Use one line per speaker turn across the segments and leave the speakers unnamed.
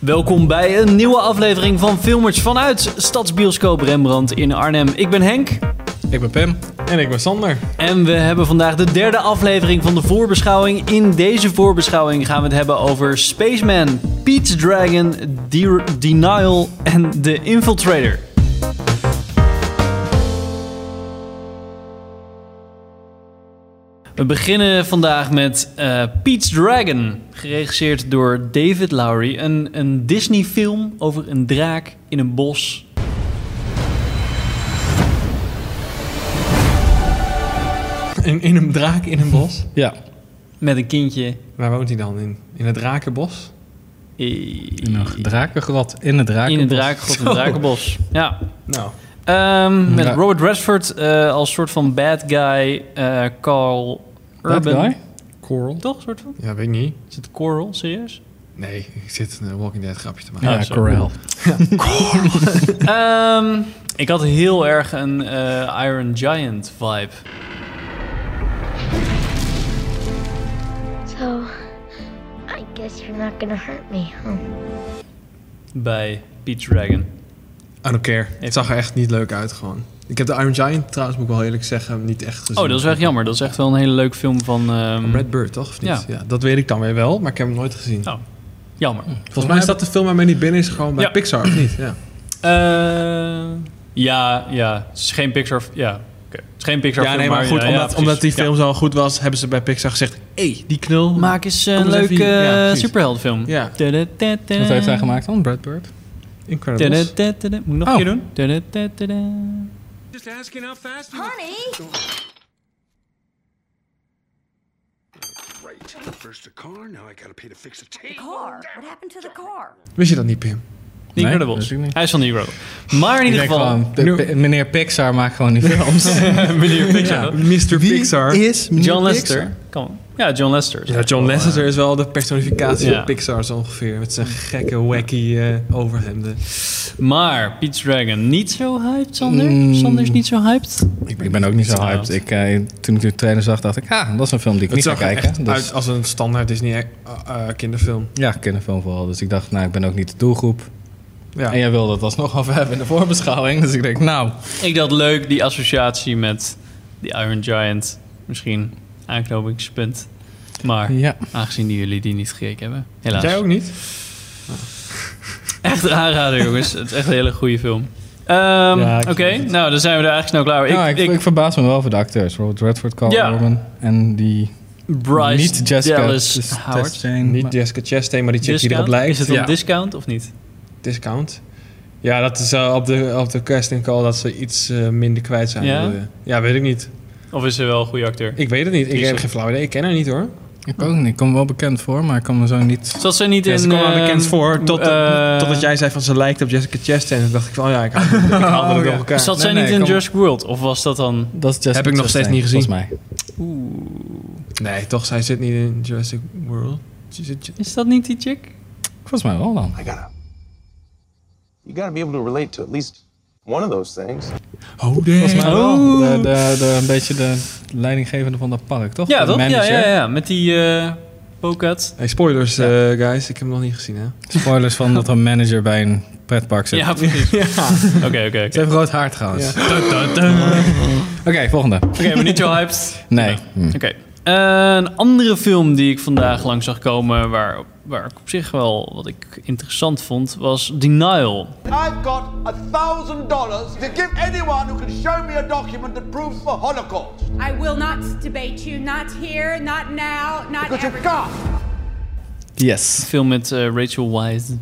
Welkom bij een nieuwe aflevering van Filmers vanuit Stadsbioscoop Rembrandt in Arnhem. Ik ben Henk
Ik ben Pam. En ik ben Sander.
en we hebben vandaag de derde aflevering van de voorbeschouwing. In deze voorbeschouwing gaan we het hebben over Spaceman, Pete's Dragon, De- Denial en The Infiltrator. We beginnen vandaag met eh Pete's Dragon, geregisseerd door David Lowry. Een, een Disney-film over een draak in een bos.
In, in een draak in een bos? ja.
Met een kindje.
Waar woont hij dan? In, in het drakenbos?
In
In een drakengrot in het draken.
In een drakengrot, in
Zo.
een drakenbos. Ja.
Nou,
Ehm, met
Ja.
Robert Redford eh, als soort van bad guy, eh, Carl
Bad
Urban.
guy?
Coral.
Toch, soort van?
Ja, weet ik niet.
Is het Coral, serieus?
Nee, ik zit een Walking Dead grapje te maken.
Ja,
Ja,
zo.
Corel.
Ehm, ik had heel erg een eh, Iron Giant vibe.
So, I guess you're not gonna hurt me, huh?
bij Peach Dragon.
I don't care. Het zag er echt niet leuk uit gewoon. Ik heb de Iron Giant trouwens, moet ik wel eerlijk zeggen, niet echt gezien.
Oh, dat is echt jammer. Dat is echt wel een hele leuke film van... ehm,
Red Bird, toch? Of niet?
Ja.
Ja. Dat weet ik dan weer wel, maar ik heb hem nooit gezien.
Oh, jammer.
Volgens mij is dat de film waarmee niet binnen is gewoon bij
Ja.
Pixar, of niet? Ja.
Eh, ja, ja. Het is geen Pixar... Ja, oké. Het is geen Pixar
ja,
film,
nee, maar goed,
ja, ja,
omdat,
precies.
omdat die
Ja.
film zo goed was, hebben ze bij Pixar gezegd... Hé, hey, die knul.
Maak eens een
Kom eens
leuke
even hier. Ja,
eh,
precies.
superheldenfilm.
Ja.
Da-da-da-da.
Wat
Eh.
heeft hij gemaakt dan? Brad Bird?
Incredibles.
Da-da-da-da-da. Moet ik nog een
Oh.
keer doen? Da-da-da-da-da.
Right. First the car, now I gotta pay to fix the tape.
car? What happened to the car?
Wist je dat niet, Pim?
The
Nee,
Incredibles.
dat is ook niet.
Hij is van The Incredibles. Maar in
Ik
ieder
denk
geval...
gewoon, de-
Nu-
Pi- meneer Pixar maakt gewoon die films.
meneer Pixar.
Mr. Pixar. Oh,
is
John Lester. Kom. Ja, John Lester.
Ja, John Lasseter is wel de personificatie
Ja.
van Pixar zo ongeveer. Met zijn gekke, wacky eh, overhemden.
Maar Pete's Dragon niet zo hyped, Sander?
Mm.
Sander is niet zo hyped?
Ik ben ook niet zo hyped. Ik, eh, toen ik de trainer zag, dacht ik, ah, dat is een film die ik
Het
niet ga
zag er echt
kijken. Dus,
uit als een standaard Disney eh, eh, kinderfilm.
Ja, kinderfilm vooral. Dus ik dacht, nou, ik ben ook niet de doelgroep.
Ja.
En jij wilde het alsnog af hebben in de voorbeschouwing. Dus ik denk, nou,
Ik dacht leuk die associatie met die Iron Giant. Misschien aanknopingspunt. Maar
ja.
aangezien jullie die niet gekeken hebben. Helaas.
Jij ook niet?
Echt een aanrader, jongens. Het is echt een hele goede film. Ehm,
ik
Oké,
snap het.
nou dan zijn we er eigenlijk snel klaar.
Nou,
ik,
ik, ik, verbaas me wel over de acteurs. Robert Redford, Carl
Ja.
Urban en die
Bryce
niet Jessica
Dallas
dus
Howard.
Tess Jane,
Niet
maar-
Jessica Chastain, maar die chick die erop
Discount?
lijkt.
Is het een
ja.
discount of niet?
discount? Ja, dat is eh, op, de, op de casting call dat ze iets eh, minder kwijt zijn.
Ja?
wilden. ja, weet ik niet.
Of is ze wel een goede acteur?
Ik weet het niet. Ik
Is
heb
het-
geen flauw idee. Ik ken haar niet hoor.
Ik ook niet. Ik kom me wel bekend voor, maar ik kan me zo niet...
Zat ze niet
Ja,
in...
ze kwam wel
ehm,
bekend voor. Tot,
eh,
totdat jij zei van ze lijkt op Jessica Chastain. En toen dacht ik van oh ja, ik haal ik haal het door elkaar.
Zat
Nee,
zij
nee,
niet in
kom-
Jurassic World? Of was dat dan...
Dat is Jessica
Heb ik nog steeds
Chastain,
niet gezien.
Volgens mij.
Nee, toch, zij zit niet in Jurassic World. Ze zit-
Is dat niet die chick?
Volgens mij wel dan.
I gotta. You gotta be able to relate to at least one of those things.
Oh, damn.
Volgens mij wel.
Oh.
De, de, de, een beetje de leidinggevende van dat park, toch?
Ja,
de
toch? Ja, ja,
manager.
ja, ja. Met die eh pokat.
Hey, spoilers, eh, guys. Ik heb hem nog niet gezien, hè?
Spoilers van dat er een manager bij een pretpark zit.
Ja, precies. Oké, oké, oké.
Ze heeft rood haar trouwens. Oké, volgende.
Oké, maar niet zo hyped.
Nee.
Oké. Eh, een andere film die ik vandaag langs zag komen, waar, waar ik op zich wel wat ik interessant vond, was Denial.
I've got a thousand dollars to give anyone who can show me a document that proves the Holocaust.
I will not debate you. Not here, not now, not
Because
ever.
you've got
Yes.
film met eh, Rachel Wise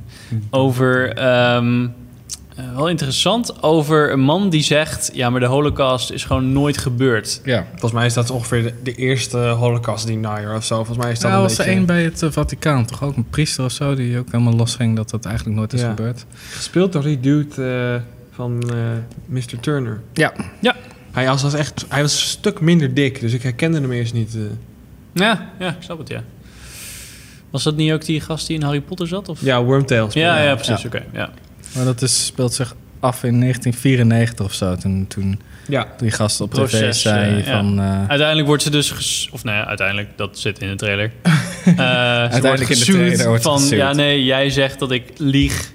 over. ehm, eh, wel interessant over een man die zegt: Ja, maar de Holocaust is gewoon nooit gebeurd.
Ja.
Volgens mij is dat ongeveer de, de eerste Holocaust denier of zo. Volgens mij is dat
Nou,
een
was er
beetje
één bij het eh, Vaticaan, toch ook een priester of zo, die ook helemaal losging dat dat eigenlijk nooit is
Ja.
gebeurd.
gespeeld door die dude eh, van eh, Mr. Turner.
Ja.
Ja,
Hij was, was echt, hij was een stuk minder dik, dus ik herkende hem eerst niet. eh.
ja, ja, ik snap het, ja. Was dat niet ook die gast die in Harry Potter zat? Of?
Ja, Wormtail. speelde
ja,
hij.
ja, precies. Oké. ja.
Maar dat is, speelt zich af in 1994 of zo. Toen, toen
Ja.
Die gasten op tv
proces.
zei
eh, ja.
van... eh,
uiteindelijk wordt ze dus... ges- Of nou ja, uiteindelijk, dat zit in de trailer. Eh, ze wordt
in de
gesued
trailer wordt
van,
gesued.
Ja, nee, jij zegt dat ik lieg.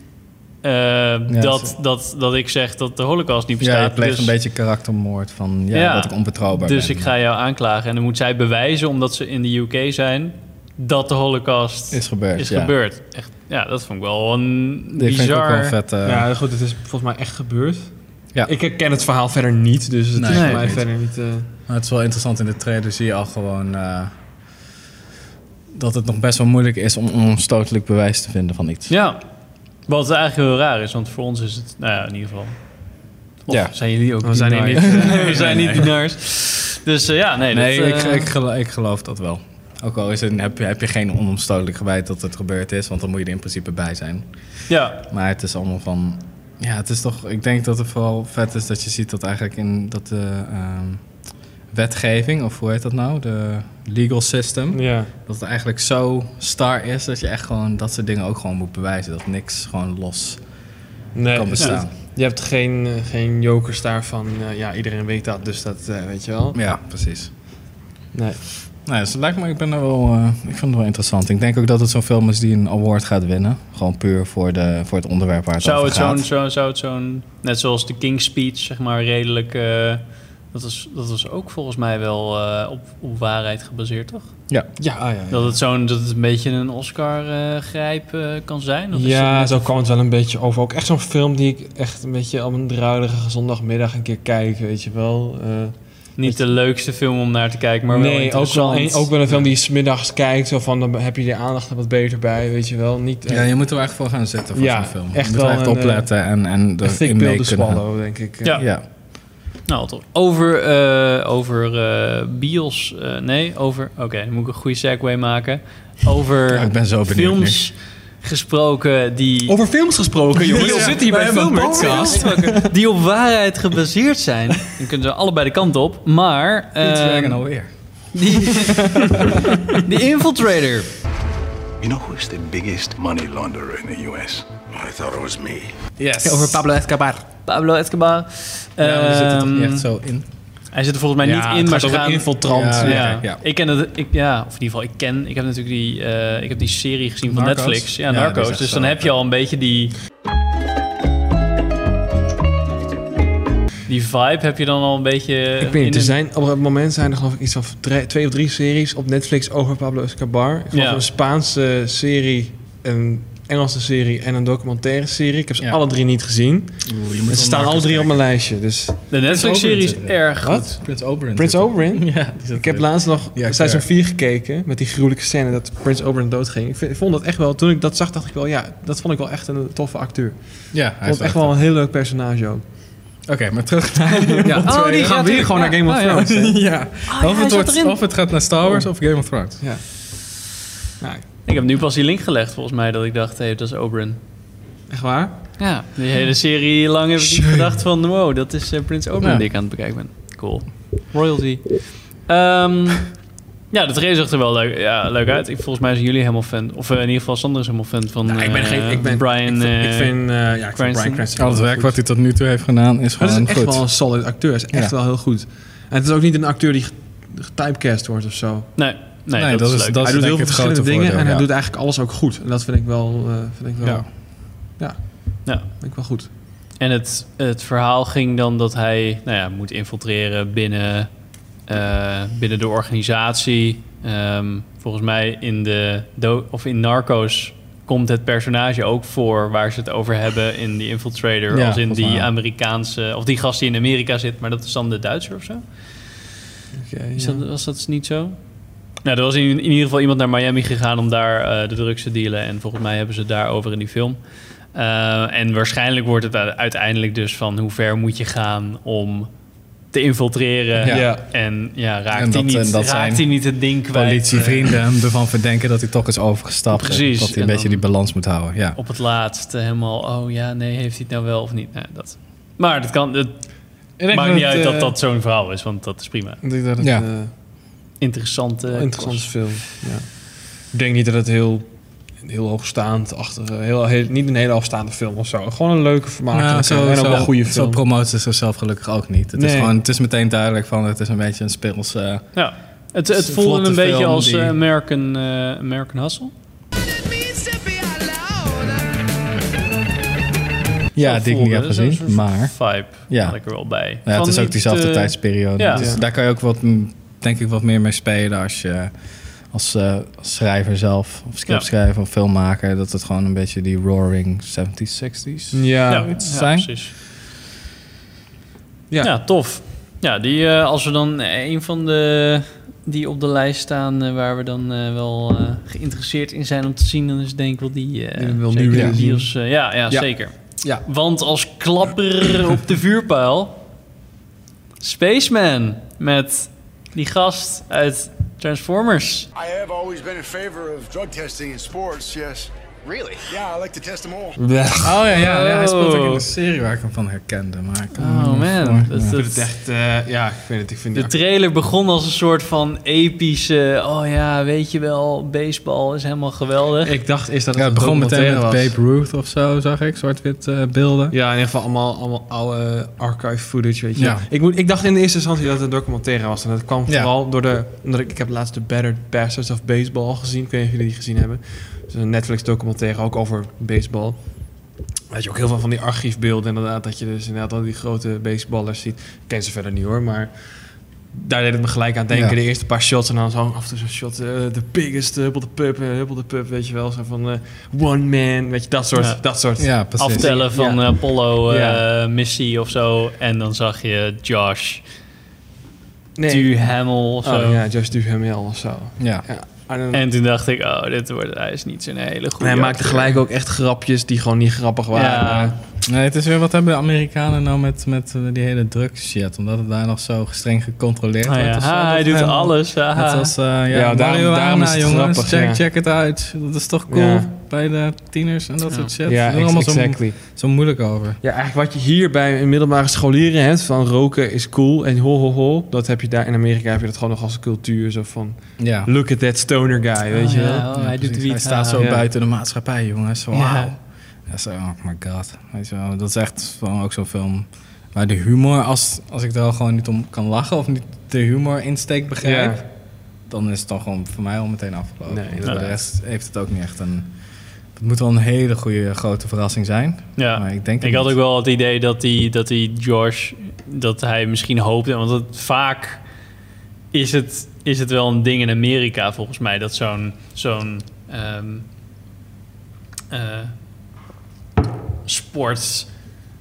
eh, dat,
ze-
dat, dat ik zeg dat de holocaust niet
ja, je
bestaat.
pleegt
dus,
een beetje karaktermoord van... Ja,
Ja.
dat ik onbetrouwbaar
dus
ben.
ik ga jou aanklagen. En dan moet zij bewijzen, omdat ze in de UK zijn... dat de holocaust
Is gebeurd,
Is
ja.
gebeurd. Echt, ja, dat vond ik wel een
Die vind ik ook
bizar...
wel vet. eh,
ja, goed, het is volgens mij echt gebeurd.
Ja.
Ik herken het verhaal verder niet, dus het
Nee,
is voor
ik
mij
niet.
verder niet... eh,
Maar het is wel interessant, in de trailer zie je al gewoon... eh, dat het nog best wel moeilijk is om onstotelijk bewijs te vinden van iets.
Ja, wat eigenlijk heel raar is, want voor ons is het, nou ja, in ieder geval. Of
Ja.
zijn jullie ook
We zijn hier
niet, we zijn niet dienaars. Dus eh, ja, nee.
Nee,
dat,
ik,
eh,
ik, gelo- ik geloof dat wel. Ook al is het, heb, je- heb je geen onomstotelijk gewijt dat het gebeurd is, want dan moet je er in principe bij zijn.
ja,
Maar het is allemaal van. Ja, het is toch. Ik denk dat het vooral vet is dat je ziet dat eigenlijk in dat de ehm, wetgeving, of hoe heet dat nou? De legal system.
ja.
Dat het eigenlijk zo star is dat je echt gewoon dat soort dingen ook gewoon moet bewijzen. Dat niks gewoon los
Nee,
kan bestaan.
Je hebt geen, eh, geen jokers daarvan. eh, ja, iedereen weet dat, dus dat eh, weet je wel.
Ja, precies.
Nee.
Nou, dus het lijkt me, ik ben er wel, eh, ik vind het wel interessant. Ik denk ook dat het zo'n film is die een award gaat winnen. Gewoon puur voor, de, voor het onderwerp waar het
zou
over
het
gaat.
zo'n, zo, zou het zo'n, net zoals de King's Speech, zeg maar, redelijk, eh, dat, was, dat was ook volgens mij wel eh, op, op waarheid gebaseerd, toch?
Ja.
Ja, ah, ja, ja.
Dat het zo'n, dat het een beetje een Oscar-grijp eh, kan zijn? Of is dat
Ja,
net-
zo kwam het wel een beetje over. Ook echt zo'n film die ik echt een beetje op een druidige zondagmiddag een keer kijk, weet je wel. Eh,
Niet de leukste film om naar te kijken, maar wel
nee, ook
interessant.
wel, een, ook wel een film die je smiddags kijkt, zo van, dan heb je de aandacht er wat beter bij, weet je wel. Niet eh,
Ja, je moet er echt voor gaan zitten voor
Ja,
zo'n film.
echt
je moet
wel
er echt
een, eh,
opletten en, en
een
er
thick
in
pill
mee
to
kunnen. gaan.
swallow, denk ik. eh.
Ja.
Ja.
Nou, toch. Over, eh, over eh, bios. eh, nee, over. Oké, dan moet ik een goede segue maken. Over
Ja, ik ben zo benieuwd
films gesproken die.
Over films gesproken, jongens.
Ja.
We zitten hier bij een filmpodcast.
die op waarheid gebaseerd zijn. Dan kunnen ze allebei de kant op. Maar. ehm,
alweer.
die, die Infiltrator.
You know who's the biggest money launderer in the U.S.? I thought it was me.
Yes.
Over Pablo Escobar.
Pablo Escobar.
Ja, we zitten er toch
Ehm,
niet echt zo in.
Hij zit er volgens mij
Ja,
niet in,
het
maar
gaat
ze
over
gaan...
infiltrant.
Ja,
ja.
oké, ja.
Ik ken het, ik, ja, of in ieder geval, ik ken... Ik heb natuurlijk die, eh, ik heb die serie gezien van
Narcos?
Netflix. Ja,
Ja, die is
Narcos.
echt
Dus
zo
dan heb je
vet.
al een beetje die... Die vibe heb je dan al een beetje...
Ik weet
in
niet, er
een-
zijn, op het moment zijn er geloof ik iets van drie- twee of drie series op Netflix over Pablo Escobar. Ik geloof
Ja.
een Spaanse serie, een Engelse serie en een documentaire serie. Ik heb ze
Ja.
alle drie niet gezien. Ze staan alle drie op mijn lijstje. Dus
De Netflix-serie is
Oberyn.
erg goed.
Wat?
Prins Oberyn.
Prins
zit er.
Oberyn?
Ja, die zit
Ik heb
er.
laatst nog
Ja,
seizoen
fair.
4 gekeken met die gruwelijke scène dat Prins Oberyn doodging. Ik vind- ik vond dat echt wel, toen ik dat zag dacht ik wel, ja, dat vond ik wel echt een toffe acteur. Ik
Ja, hij
vond
is
het echt wel een heel leuk personage ook.
Oké, maar terug naar... ja.
Oh, die
We gaan
gaat
weer
er-
gewoon
ja.
naar Game of
Oh, ja.
Thrones. hè?
ja.
Oh,
of,
hij
het
zat
wordt,
erin.
of het gaat naar Star Wars of Game of Thrones.
Ja. Nou,
Ik heb nu pas die link gelegd, volgens mij, dat ik dacht, hé, dat is Oberyn.
echt waar?
Ja, die hele serie lang heb ik niet gedacht van... wow, dat is eh, Prins Oberyn
Ja.
die ik aan het bekijken ben. Cool. Royalty. Ehm, ja, de trailer zag er wel leuk, ja, leuk uit. Ik, volgens mij zijn jullie helemaal fan... of eh, in ieder geval Sander is helemaal fan van
Nou, ik ben
eh,
geen. Ik ben,
Brian...
Ik vind, ik
eh,
vind, eh, ja, ik vind
Cranston.
Brian Cranston.
Al het werk wat hij tot nu toe heeft gedaan is
Maar
gewoon
dat is echt
Ah, goed.
wel een solid acteur. Hij is echt
Ja.
wel heel goed. En het is ook niet een acteur die ge- getypecast wordt of zo.
nee, nee, dat, is, leuk.
dat
hij doet heel veel
denk ik het grote
verschillende dingen
voordeel,
en hij
ja.
doet eigenlijk alles ook goed. En dat vind ik wel, eh, vind ik wel,
Ja.
ja.
Ja.
Vind ik wel goed.
En het, het verhaal ging dan dat hij nou ja, moet infiltreren binnen, eh, binnen de organisatie. Ehm, volgens mij in, de do- of in Narcos komt het personage ook voor waar ze het over hebben in die infiltrator.
Ja,
als in
volgens mij
die
wel.
Amerikaanse, of die gast die in Amerika zit, maar dat is dan de Duitser of zo.
eh,
Oké,
Is
ja.
dat, was dat dus niet zo? Nou, er was in, in ieder geval iemand naar Miami gegaan om daar eh, de drugs te dealen. En volgens mij hebben ze het daarover in die film. Eh, en waarschijnlijk wordt het u- uiteindelijk dus van hoe ver moet je gaan om te infiltreren.
Ja.
Ja.
En ja, raakt,
En dat-
hij, niet,
en dat
raakt hij
zijn
niet het ding kwijt
politievrienden hem ervan verdenken dat hij toch is overgestapt.
Precies,
Dat hij
en
een beetje
dan-
die balans moet houden. Ja.
eh, op het laatst eh, helemaal, oh ja, nee, heeft hij het nou wel of niet? Nou, dat. Maar dat kan, het
Ik denk
maakt niet uit dat
eh,
dat zo'n verhaal is, want dat is prima.
Ik denk dat het
Ja.
eh,
Interessante
een interessante film ja. Ik denk niet dat het heel heel hoogstaand achter. eh, Heel, heel- niet een hele hoogstaande film of zo. Gewoon een leuke
Nou,
vermakelijke
zo,
en ook
zo,
wel een goede
zo
film.
promoten ze zichzelf gelukkig ook niet. Het, is
Nee.
gewoon, het is meteen duidelijk van het is een beetje een speels... eh,
Ja. Het,
Het is
het
een
voelde een
vlotte
beetje
film
als
die-
eh, American, eh, American Hustle.
ja,
Zo
die ik niet
voelde.
heb
Dus een
gezien,
soort
maar...
Vibe
Ja.
had ik er wel bij.
Ja, het
Van
is ook
niet,
diezelfde
eh,
tijdsperiode.
ja.
Dus
Ja.
daar kan je ook wat, mm, denk ik, wat meer mee spelen als je als, eh, als schrijver zelf, of scriptschrijver of filmmaker, dat het gewoon een beetje die roaring 70s, 60s.
Ja,
Ja,
iets
ja,
zijn.
precies.
Ja.
Ja. tof. Ja, die, eh, als we dan een van de die op de lijst staan eh, waar we dan eh, wel eh, geïnteresseerd in zijn om te zien, dan is denk ik wel die. eh
Die we wel nu
zeker
willen
die
zien.
als, eh, ja, ja,
Ja.
zeker.
Ja.
Want als klapper op de vuurpijl, Spaceman met die gast uit Transformers.
I have always been in favor of drug testing in sports, yes. Really? Yeah, I like to test them all.
Oh ja, ja, ja, hij speelt ook in
Oh.
de serie waar ik hem van herkende. Maar ik kan hem
Oh
niet
man,
voor-
dat,
ja.
dat-
echt, eh, ja, ik weet het. Ik vind
De trailer begon als een soort van epische. Oh ja, weet je wel, baseball is helemaal geweldig.
Ik dacht eerst dat
Ja,
het
het
een
begon meteen met
documentaire was.
Babe Ruth of zo, zag ik, zwart-wit eh, beelden.
Ja, in ieder geval allemaal, allemaal oude archive footage, weet je.
Ja.
Ik, moet, ik dacht in de eerste instantie dat het een documentaire was. En dat kwam
Ja.
vooral door de... Omdat ik, ik heb laatst de Better Bastards of Baseball gezien. Ik weet niet of jullie die gezien hebben. Het is een Netflix documentaire, ook over baseball. Weet je ook heel veel van die archiefbeelden inderdaad. Dat je dus inderdaad al die grote baseballers ziet. Ik ken ze verder niet hoor, maar... Daar deed het me gelijk aan denken.
Ja.
De eerste paar shots en dan zo af en toe zo'n shot. eh, the biggest, huppel de pup, eh, huppel de pup. Weet je wel, zo van eh, one man. Weet je, dat soort,
Ja.
dat soort
Ja, precies.
aftellen van
Ja.
Apollo eh,
Ja.
missie of zo. En dan zag je Josh
Nee.
Duhamel of zo.
Oh ja, Josh Duhamel of zo.
Ja.
Ja. En dan-
En toen dacht ik, oh, dit wordt, hij is niet zo'n hele goede.
En hij maakte
acteur.
gelijk ook echt grapjes die gewoon niet grappig waren.
Ja,
Nee, het is weer wat hebben de Amerikanen nou met, met eh, die hele drugs shit, omdat het daar nog zo streng gecontroleerd
Ah,
wordt.
ja.
of zo,
Ha,
dat
hij doet
helemaal-
alles. Ah. ha,
Net
ha.
als, eh, ja,
daarom-
marihuana,
daarom is het
jongens.
grappig,
check,
ja.
check het uit. Dat is toch cool
Ja.
bij de tieners en dat soort
Ja,
shit. Ze doen er
ex-
allemaal
exactly.
zo, zo moeilijk over.
Ja, eigenlijk wat je hier bij een middelbare scholieren hebt van roken is cool en ho ho ho. Dat heb je daar in Amerika heb je dat gewoon nog als een cultuur zo van
Ja.
look at that stoner guy, weet je
Oh, ja,
wel.
oh, hij doet
precies.
wiet.
Hij staat zo
Ja.
buiten de maatschappij, jongens. Wauw.
Ja.
Ja. zo, oh my god. Weet je wel, dat is echt van ook zo'n film waar de humor, als, als ik er al gewoon niet om kan lachen of niet de humor insteek begrijp,
Ja.
dan is het dan gewoon voor mij al meteen afgelopen.
Nee,
Want voor de
inderdaad.
rest heeft het ook niet echt een... Het moet wel een hele goede grote verrassing zijn.
Ja,
Maar
ik,
ik denk het
had
niet.
ook wel het idee dat die, dat die Josh, dat hij misschien hoopte, want het, vaak is het, is het wel een ding in Amerika volgens mij, dat zo'n, zo'n ehm, eh,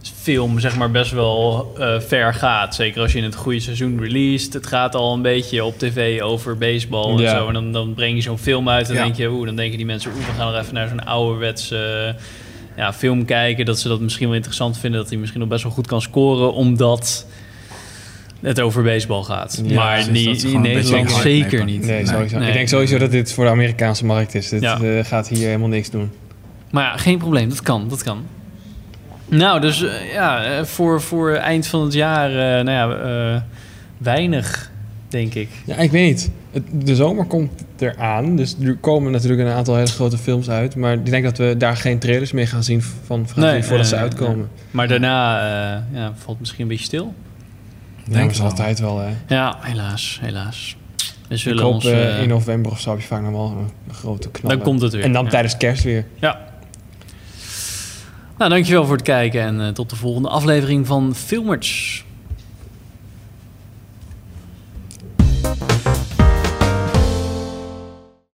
sportfilm zeg maar best wel eh, ver gaat. Zeker als je in het goede seizoen released. Het gaat al een beetje op tv over baseball en
Ja.
zo. En dan, dan breng je zo'n film uit en
Ja.
denk je, oeh, dan denken die mensen, oeh, we gaan er even naar zo'n ouderwetse eh, ja, film kijken. Dat ze dat misschien wel interessant vinden, dat hij misschien nog best wel goed kan scoren, omdat het over baseball gaat.
Ja,
maar
precies, dat
niet,
is
in
gewoon een
Nederland
beetje hard
zeker
meepakken.
niet.
Nee, sowieso.
Nee.
Ik denk sowieso dat dit voor de Amerikaanse markt is. Dit
Ja.
eh, gaat hier helemaal niks doen.
Maar ja, geen probleem, dat kan, dat kan. Nou, dus eh, ja, eh, voor, voor eind van het jaar, eh, nou ja, eh, weinig, denk ik.
Ja, ik weet niet. Het- de zomer komt eraan. Dus er komen natuurlijk een aantal hele grote films uit. Maar ik denk dat we daar geen trailers meer gaan zien van van-
Nee,
voordat ze
nee,
uitkomen.
Maar daarna eh, ja, valt het misschien een beetje stil.
Nee,
Denk
dat is
wel.
altijd wel, hè.
Ja, helaas, helaas. We
Ik
zullen
hoop
ons...
eh,
eh,
in november of zo heb je vaak nog wel een, een grote knal.
Dan komt het weer,
En dan
ja.
tijdens kerst weer.
ja. Nou, dankjewel voor het kijken en eh, tot de volgende aflevering van Filmers.